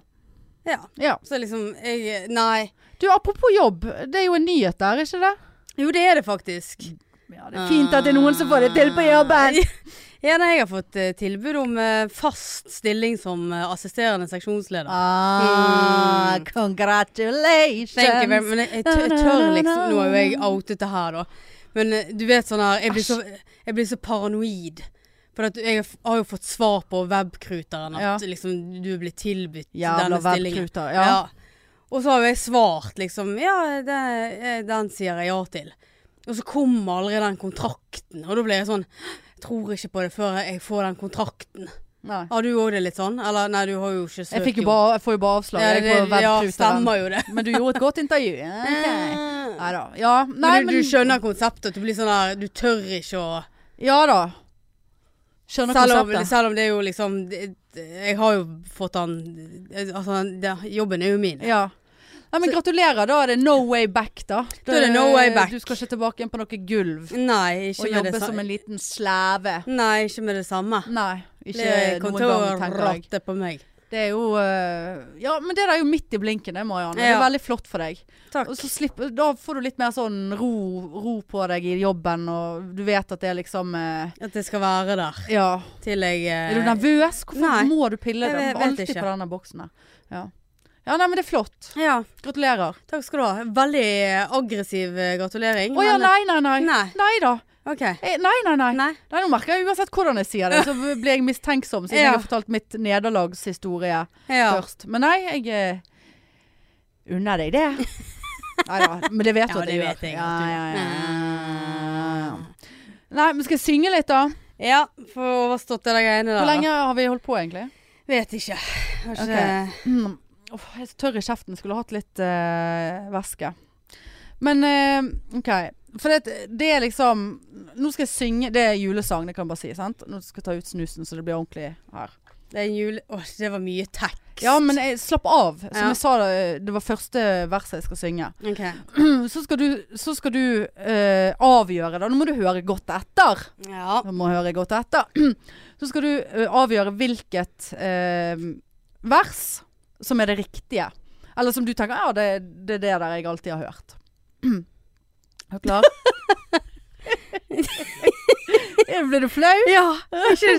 Ja. ja. Så liksom jeg Nei. Du, apropos jobb. Det er jo en nyhet der, ikke det? Jo, det er det faktisk. Ja, det er fint at det er noen som får det til på jobben. Ja, nei, jeg har fått eh, tilbud om eh, fast stilling som eh, assisterende seksjonsleder. Ah, Mm. congratulations! Thank you very much. Men jeg, jeg, tør, jeg tør liksom Nå er jo jeg outet det her, da. Men eh, du vet sånn her Jeg blir så, jeg blir så paranoid. For at jeg har jo fått svar på webkruteren at Ja. liksom du er blitt tilbudt Jævla denne stillingen. webkruter. Ja. Ja. Og så har jo jeg svart liksom Ja, det, eh, den sier jeg ja til. Og så kommer aldri den kontrakten. Og da blir jeg sånn Jeg tror ikke på det før jeg får den kontrakten. Nei. Har du òg det litt sånn? Eller nei, du har jo ikke søkt Jeg, fikk jo bare, jeg får jo bare avslag. ja, jeg det, får ja, webkruter. stemmer jo det. Men du gjorde et godt intervju. Ja, ok. Nei da. Ja, nei, men, men du, du skjønner konseptet. at Du blir sånn der Du tør ikke å Ja da. Skjønner selv om, konseptet. selv om det er jo liksom det- Jeg har jo fått han Altså, det, jobben er jo min. Ja. Nei, men gratulerer. Da er det no way back, da. Da er det no way back. Du skal ikke tilbake inn på noe gulv Nei, og ikke med jobbe det som samme. en liten sleve. Nei, ikke med det samme. Nei, ikke Det noen kommer til å gang, tenker jeg. ratte på meg. Det er jo eh, Ja, men det der er jo midt i blinken, det, Marianne. Det er Ja. veldig flott for deg. Takk. Og så slipper, da får du litt mer sånn ro, ro på deg i jobben, og du vet at det er liksom eh, At jeg skal være der Ja. til jeg eh, Er du nervøs? Hvorfor nei. må du pille Jeg deg vet- vet alltid ikke. på denne boksen her? Ja. ja, nei, men det er flott. eh, Ja. Gratulerer. Takk skal du ha. Veldig eh, aggressiv eh, gratulering. Å ja, men- eh, nei, nei, nei. Nei. Nei da. OK. Eh, Nei, nei, nei. Nei. Nei, Nå merker jeg uansett hvordan jeg sier det, så blir jeg mistenksom siden Ja. jeg har fortalt mitt nederlagshistorie Ja. først. Men nei, jeg eh, unner deg det. Nei da, men det vet du Ja, at det jeg vet gjør. jeg Ja, at du ja, gjør. ja. Nei, men skal jeg synge litt, da? Ja, få overstått det der greiene der. Hvor da. lenge har vi holdt på, egentlig? Vet ikke. Har ikke Mm. Uff, jeg er så tørr i kjeften. Skulle hatt litt eh, væske. Men eh, OK. For det, det er liksom Nå skal jeg synge Det er julesang, det kan jeg bare si. sant? Nå skal jeg ta ut snusen, så det blir ordentlig her. Det er en jule... Åh, det var mye tekst. Ja, men jeg, slapp av. Som Ja. jeg sa, eh, det var første verset jeg skal synge. Ok. Så skal du, så skal du eh, avgjøre, da. Nå må du høre godt etter. Ja. Du må høre godt etter. Så skal du eh, avgjøre hvilket eh, vers som er det riktige. Eller som du tenker Ja, det, det er det der jeg alltid har hørt. Er du klar? Blir du flau? ja. Ikke,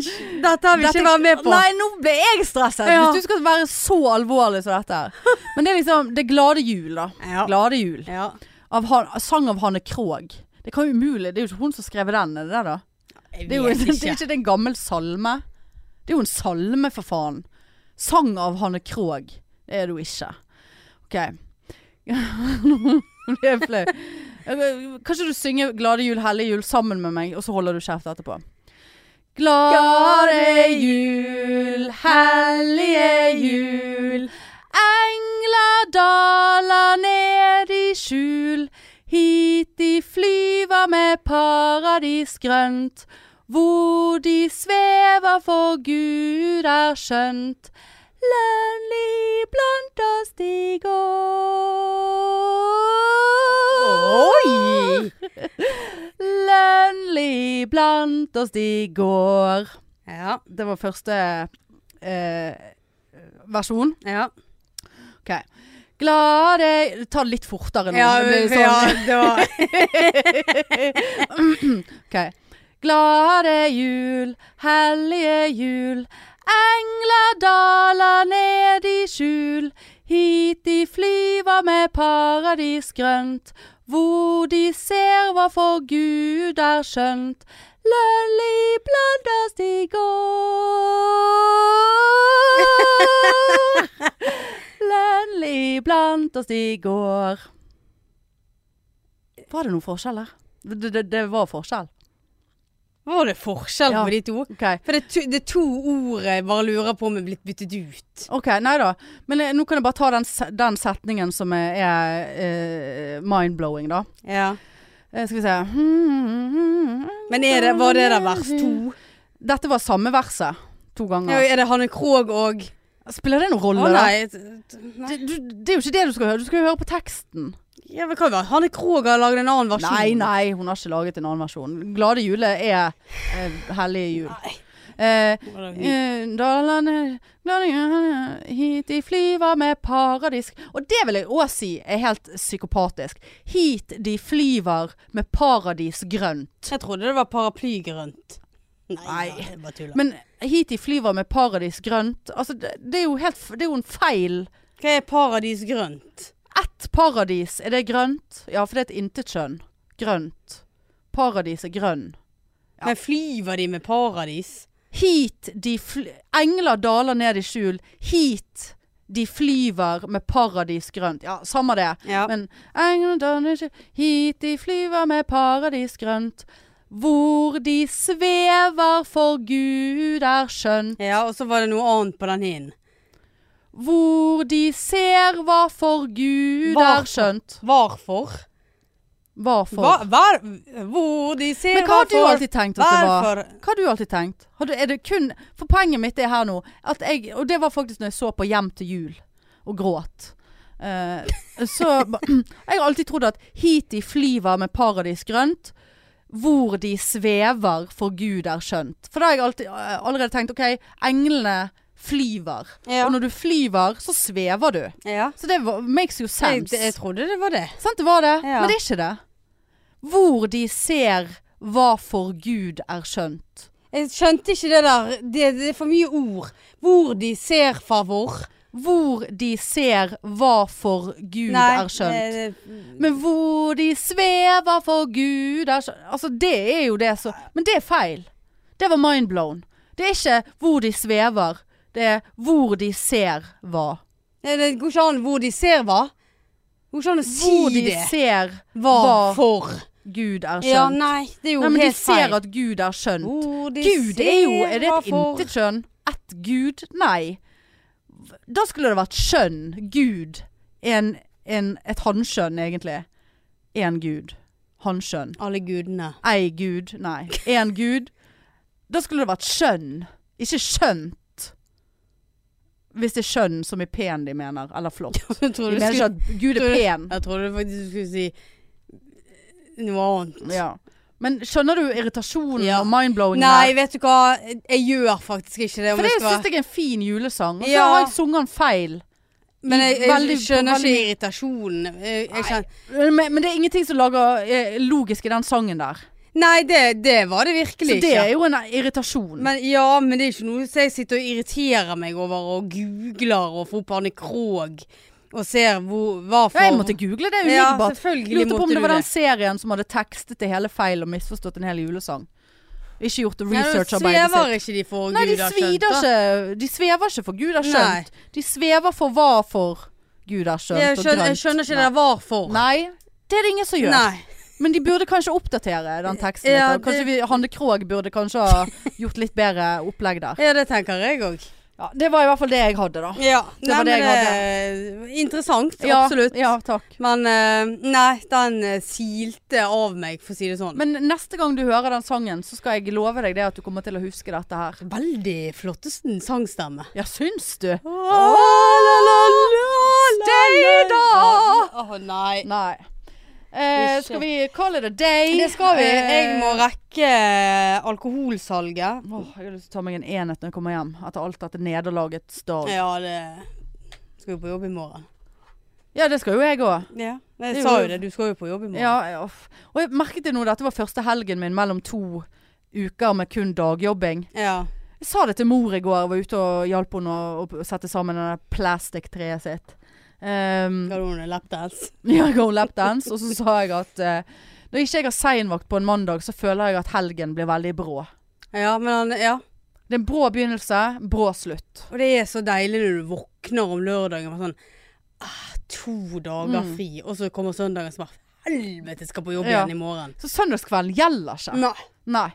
dette har vi ikke vært med på. Nei, nå ble jeg stresset. Ja. Hvis du skal være så alvorlig som dette. her. Men det er liksom Det er glade jul, da. Ja. Glade jul. ja. Av han, sang av Hanne Krogh. Det kan jo umulig Det er jo ikke hun som skrev den, er det det, da? Jeg Det er jo vet det er ikke. ikke det er en gammel salme. Det er jo en salme, for faen. Sang av Hanne Krogh. Det er du ikke. OK. Nå blir jeg flau. Kan ikke du synge 'Glade jul, hellige jul' sammen med meg, og så holder du kjeft etterpå? Glade jul, hellige jul. Engler daler ned i skjul. Hit de flyver med paradis grønt. Hvor de svever for Gud er skjønt. Lønnlig blant oss de går. Oi! Lønnlig blant oss de går. Ja. Det var første eh, versjon. Ja, Ok. Glade Ta det litt fortere nå. ja, det blir sånn. ja det var Ok. Glade jul, hellige jul. Engler daler ned i skjul. Hit de flyver med paradis grønt. Hvor de ser hva for Gud er skjønt. Lønlig blant oss de går. Lønlig blant oss de går. Var det noen forskjell der? Det, det, det var forskjell. Var det forskjell Ja. på de to? Ok, For det er, to, det er to ord jeg bare lurer på om er blitt byttet ut. Ok, nei da. Men eh, nå kan jeg bare ta den, se- den setningen som er, er eh, mind-blowing, da. Ja. Eh, skal vi se Men er det, var det der vers to? Dette var samme verset to Ja. ganger. Er det Hanne Krogh og Spiller det noen Å rolle? da? nei. t- nei. Det, du, det er jo ikke det du skal høre. Du skal jo høre på teksten. Ja, men hva var det? Hanne Krogh har laget en annen versjon. Nei, nei, hun har ikke laget en annen versjon. Glade jule er eh, hellige jul. Nei. Eh, nei. Eh, Dalane Dalane, Hit de flyver med paradisk Og det vil jeg også si er helt psykopatisk Hit de flyver med paradis grønt Jeg trodde det var paraplygrønt. Nei, Nei. da, jeg bare tuller. Men hit de flyver med paradis grønt Altså det, det, er, jo helt, f- det er jo en feil Hva er paradisgrønt? Ett paradis, er det grønt? Ja, for det er et intetskjønn Grønt Paradis er grønn Ja. Men flyver de med paradis? Hit de fly Engler daler ned i skjul Hit de flyver med paradis grønt Ja, samme det Ja. Men engler danner ikke hit de flyver med paradis grønt. Hvor de svever for Gud er skjønn. ja, og så var det noe annet på den hin. Hvor de ser hva for Gud Hva er skjønt. Hvorfor? Hva for? Hva, hva, hvor de ser Men hva har du hvorfor- alltid tenkt at det var? Hvorfor? Hva har du alltid tenkt? Har du, er det kun, for poenget mitt er her nå, at jeg, og det var faktisk når jeg så på Hjem til jul og gråt. Eh, så jeg har alltid trodd at hit de flyver med paradis grønt, hvor de svever for Gud er skjønt. For da har jeg alltid, eh, allerede tenkt, ok, englene flyver. Ja. Og når du flyver, så svever du. Ja. Så det var- makes jo Jeg, sense. jeg trodde det var det. Sant det var det, Ja. men det er ikke det. Hvor de ser hva for Gud er skjønt. Jeg skjønte ikke det der. Det, det er for mye ord. Hvor de ser favor. Hvor de ser hva for Gud er eh, skjønt. Men hvor de svever for Gud er skjønt. Altså, det er jo det som Men det er feil. Det var mindblown. Det er ikke hvor de svever. Det er hvor de ser hva. Det, det går ikke an hvor de ser hva. Det går ikke an å si Hvor de det. ser Hva hva for? Gud er Ja, skjønt. nei, det er jo Nei, men de helt feil. ser at Gud er skjønt. Hvor de Gud er jo ser Er det hva et intet kjønn? Ett Gud? Nei. Da skulle det vært skjønn. Gud. En, en, et hanskjønn, egentlig. Én Gud. Hanskjønn. Alle gudene. Ei Gud. Nei. Én Gud. Da skulle det vært skjønn. Ikke skjønt. Hvis det er skjønn som er pen de mener, eller flott. Jeg De trodde, du mener ikke skulle, at Gud er tror du- pen. jeg trodde faktisk du skulle si noe annet. Ja. Men skjønner du irritasjonen Ja. og mindblowingen? Nei, her? vet du hva. Jeg gjør faktisk ikke det. om For det jeg skal være- syns jeg er en fin julesang. Og så Ja. har jeg sunget den feil. Men jeg, jeg Veldig- skjønner veldig- ikke irritasjonen. Jeg, jeg kjenner, Men, men det er ingenting som lager eh, logisk i den sangen der. nei, det, det var det Så virkelig det er ikke. jo en irritasjon. Men, ja, men det er ikke noe som jeg sitter og irriterer meg over og googler og får opp Arne Krogh og ser hvor, hva for ja, jeg måtte google det Ja, umiddelbart. selvfølgelig Lurte på om måtte det du var den det. serien som hadde tekstet det hele feil og misforstått en hel julesang. Ikke gjort Ja, researcharbeidet sitt. svever ikke de for Nei, de Gud har skjønt, svider da? ikke De svever ikke for Gud har skjønt. De svever for hva for Gud har skjønt Jeg skjønner, og jeg grønt. skjønner ikke det der var for. Nei, det er det ingen som gjør. Nei. Men de burde kanskje oppdatere den teksten. litt, da. Ja, Kanskje det- vi, Hanne Krogh burde kanskje ha gjort litt bedre opplegg der. Ja, det tenker jeg òg. Ja, det var i hvert fall det jeg hadde, da. Ja. Det var nei, det jeg men det- Interessant, Ja, absolutt. Ja, takk. Men eh, nei, den eh, silte av meg, for å si det sånn. Men neste gang du hører den sangen, så skal jeg love deg det at du kommer til å huske dette her. Veldig flott sangstemme. Ja, syns du? Steida! Å nei. Nei. Eh, Ikke. skal vi call it a day? Det skal vi. Eh, Jeg må rekke eh, alkoholsalget. Åh, jeg har lyst til å ta meg en enhet når jeg kommer hjem. Etter alt dette nederlagets dag. Ja. Ja, det Skal jo på jobb i morgen. det skal jo jeg òg. Ja. Det Jeg er sa jo- jo det, du skal jo på jobb i morgen. Ja, ja, uff. og jeg merket det nå, dette var første helgen min mellom to uker med kun dagjobbing. Ja. Jeg sa det til mor i går, jeg var ute og hjalp henne å, å sette sammen det der plastikktreet sitt. Ehm, Skal du ha lapdance? ja, jeg går lapdance, og så sa jeg at eh, når ikke jeg har seinvakt på en mandag, så føler jeg at helgen blir veldig brå. Ja, men han Ja. Det er en brå begynnelse, brå slutt. Og det er så deilig når du våkner om lørdagen med sånn ah, To dager Mm. fri, og så kommer søndagen som bare Helvete, skal på jobb Ja. igjen i morgen. Så søndagskvelden gjelder ikke. Nei. Nei.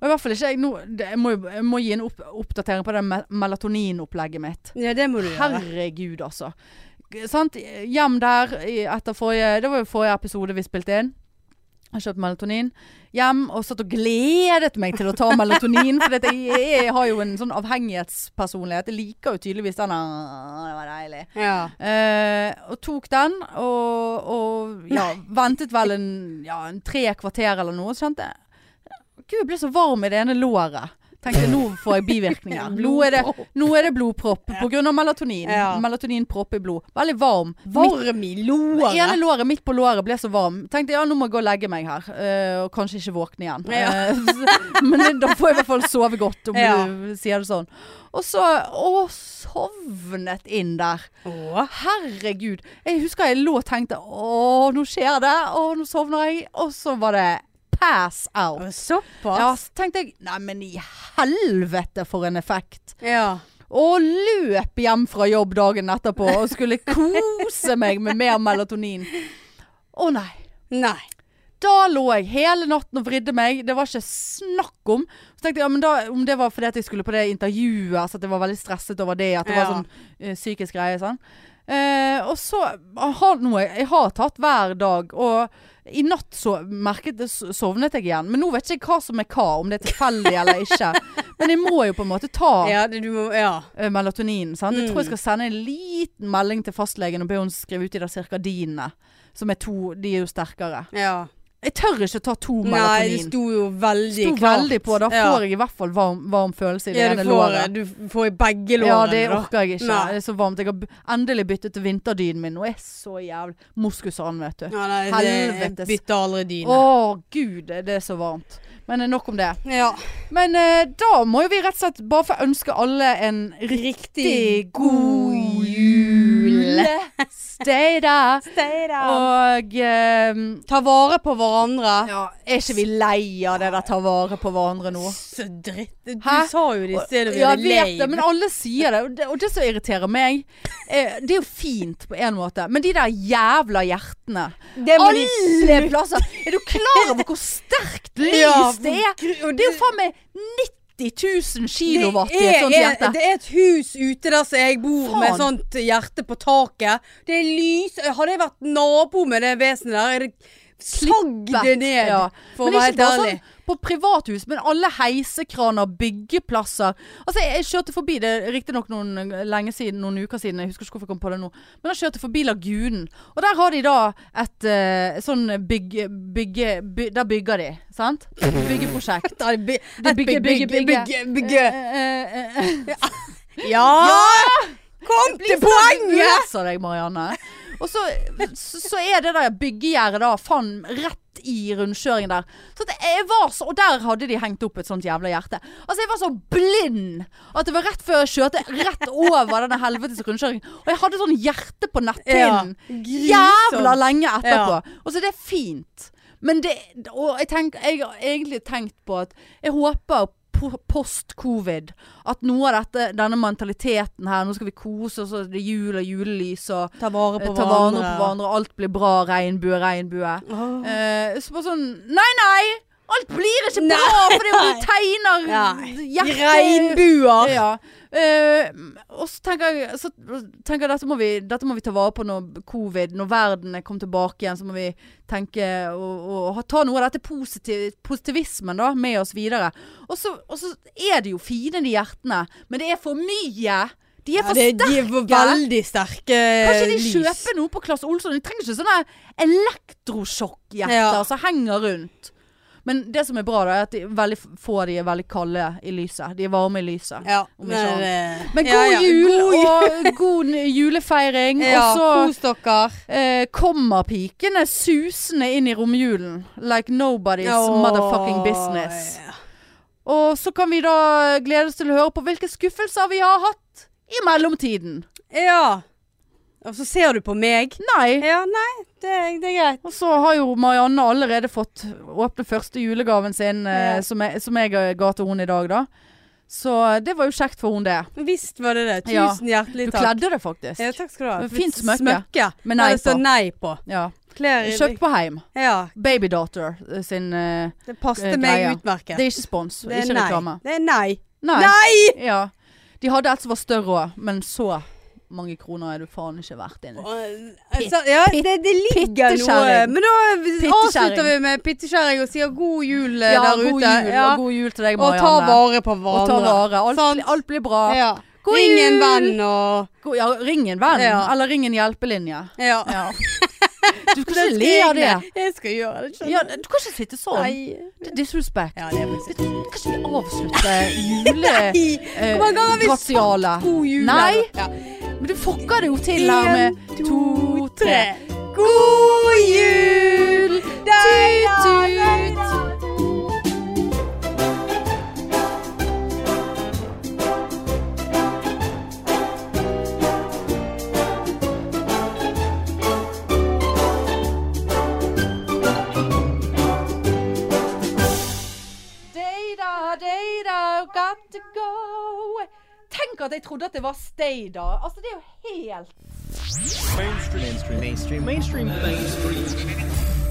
Og i hvert fall ikke jeg nå det- Jeg må, jo- jeg må gi en opp, oppdatering på det me- melatoninopplegget mitt. Ja, det må du gjøre. Herregud, altså. G- Sant? Hjem der i- etter forrige Det var jo forrige episode vi spilte inn. Jeg kjøpte melatonin. Hjem og satt og gledet meg til å ta melatonin. For jeg, jeg har jo en sånn avhengighetspersonlighet. Jeg liker jo tydeligvis den «Åh, Det var deilig. Ja. Eh, og tok den, og, og ja, ventet vel en, ja, en tre kvarter eller noe. Så kjente jeg Gud, jeg ble så varm i det ene låret. Tenkte nå får jeg bivirkninger. Nå er det, nå er det blodpropp pga. melatonin. Ja. Melatoninpropp i blod. Veldig varm. Midt, Varm i det ene låret. låret midt på låret ble så varm. Tenkte ja, nå må jeg gå og legge meg her. eh, og kanskje ikke våkne igjen. Ja. Eh, men da får jeg i hvert fall sove godt, om Ja. du sier det sånn. Og så Å, sovnet inn der. Åh. Herregud. Jeg husker jeg lå og tenkte Åh, nå skjer det. Åh, nå sovner jeg. Og så var det pass out. Ja, Såpass? så tenkte jeg Nei, men i helvete for en effekt. Ja. Og løp hjem fra jobb dagen etterpå og skulle kose meg med mer melatonin. Å nei. Nei. Da lå jeg hele natten og vridde meg. Det var ikke snakk om. Så tenkte jeg, ja, men da, Om det var fordi at jeg skulle på det intervjuet, så at jeg var veldig stresset over det. At det Ja. var sånn eh, psykisk greie. Sånn. Eh, og så jeg har noe jeg, jeg har tatt hver dag. Og i natt så merket, så- sovnet jeg igjen. Men nå vet ikke jeg hva som er hva, om det er tilfeldig eller ikke. Men jeg må jo på en måte ta Ja, det, du må Ja. eh, melatonin. Sant? Jeg Mm. tror jeg skal sende en liten melding til fastlegen og be henne skrive ut de der cirkadinene. Som er to De er jo sterkere. ja. Jeg tør ikke ta to Nei, det melatonin. sto jo veldig Sto klart. veldig på. Da Ja. får jeg i hvert fall varm, varm følelse i det ja, du ene får, låret. du får i begge Ja, lårene. det da. orker jeg ikke. Nei. Det er så varmt. Jeg har b- endelig byttet til vinterdynen min, og er så jævlig moskusand, vet du. Ja, nei, det- Helvetes. jeg bytter aldri dyne. Å gud, det er så varmt. Men eh, nok om det. Ja. Men eh, da må jo vi rett og slett bare få ønske alle en riktig god jul. Stay there. Og eh, Ta vare på hverandre. ja, er ikke vi lei av det der ta vare på hverandre nå? Så dritt. Du Hæ? sa jo det i stedet. Ja, jeg vet det, men alle sier det. Og det, og det som irriterer meg, eh, det er jo fint på en måte, men de der jævla hjertene det må de Alle plasser! Er du klar over hvor sterkt lys Ja, det er? og Det er jo faen meg 90 000 kilowatt i er- et sånt er- hjerte. Det er et hus ute der som jeg bor med sånn Faen. sånt hjerte på taket. Det er lys Hadde jeg vært nabo med det vesenet der, jeg hadde sagd det ned. Ja. For å Men ikke være helt bare ærlig. sånn på privathus, men alle heisekraner, byggeplasser. Altså, jeg, jeg kjørte forbi det riktignok noen lenge siden, noen uker siden, jeg husker ikke hvorfor jeg kom på det nå, men da kjørte jeg forbi Lagunen. Og der har de da et eh, sånn bygge... bygge by, der bygger de, sant? Byggeprosjekt. Da er det by- Det et bygge, bygge, bygge. bygge. Eh, eh, eh, eh. Ja! Kom til Du poenget! leser deg, Marianne. Og så, så, så er det der byggegjerdet da faen rett i rundkjøringen der. Så at jeg var så, Og der hadde de hengt opp et sånt jævla hjerte. Altså Jeg var så blind at det var rett før jeg kjørte rett over denne helvetes rundkjøringen. Og jeg hadde sånn hjerte på netthinnen Grusomt. jævla lenge etterpå. Ja. Og så det er fint. Men det Og jeg, tenk, jeg har egentlig tenkt på at jeg håper po- post-covid at noe av dette, denne mentaliteten her Nå skal vi kose oss, og det er jul og julelys og Ta vare eh, på ta vare på hverandre, og alt blir bra. Regnbue, regnbue. Åh. Eh, så bare sånn Nei, nei! Alt blir ikke Nei. bra fordi om du tegner Nei. hjerte- Regnbuer! Ja. Eh, og så tenker jeg, så tenker jeg dette, må vi, dette må vi ta vare på når covid, når verden er kommet tilbake igjen. Så må vi tenke og, og ha- ta noe av dette positiv, positivismen da, med oss videre. Og så, og så er det jo fine, de hjertene. Men det er for mye. De er Ja, for det, sterke. de er veldig sterke Kanskje de lys. kjøper noe på Klasse Olsson? De trenger ikke sånne elektrosjokkhjerter Ja. som henger rundt. Men det som er bra, da, er at de, veldig få av de er veldig kalde i lyset. De er varme i lyset. Ja, Om ikke men, eh, Men ja, god ja. jul God jul. og god n- julefeiring. Ja, Og kos dere. så eh, kommer pikene susende inn i romjulen like nobody's Åh, motherfucking business. ja. Og så kan vi da glede oss til å høre på hvilke skuffelser vi har hatt i mellomtiden. Ja. Og så ser du på meg. Nei. Ja, nei, det, det er greit. Og så har jo Marianne allerede fått åpne første julegaven sin, eh, Ja. som, jeg, som jeg eh, ga til henne i dag, da. Så eh, det var jo kjekt for henne, det. Visst var det det. Ja. Tusen Du hjertelig takk. kledde det faktisk. Ja, takk skal du ha. Det er fint Et smykke. Med Ja, nei det står på. nei på. Ja. Klær i Kjøpt på Heim. Ja. Baby Daughter eh, sin eh, Det Eh, passet meg greia. utmerket. Det er ikke spons, Det er ikke reklame. Det er nei. Nei. Nei! Ja. De hadde et som var større òg, men så mange kroner er du faen ikke verdt inni. Altså, ja, det, det ligger noe pittekjerring. Men da Pittekjerring. avslutter vi med pittekjerring og sier god jul eh, Ja, der god ute. jul, Ja. og god jul til deg, Og ta Marianne. vare på Og ta hverandre. vare. Alt, Sant. alt blir bra. Ja. God Ring en jul! venn og God- Ja, ring en venn, Ja. eller ring en hjelpelinje. Ja. Ja. Du skal ikke le av det. Jeg skal gjøre det. skjønner Ja, du kan ikke sitte du. sånn. Nei. Det er disrespect. Ja, det er Vet faktisk du, Kan ikke vi avslutte jule... Nei! Hvor mange ganger har vi gratiale. sagt god jul? Nei. her nå? Ja. Men du fucker det jo til her med En, to, tre. God jul! Tut, tut. Data, data, got to go. Tenk at jeg trodde at det var Stay, da. Altså, det er jo helt mainstream mainstream mainstream mainstream mainstream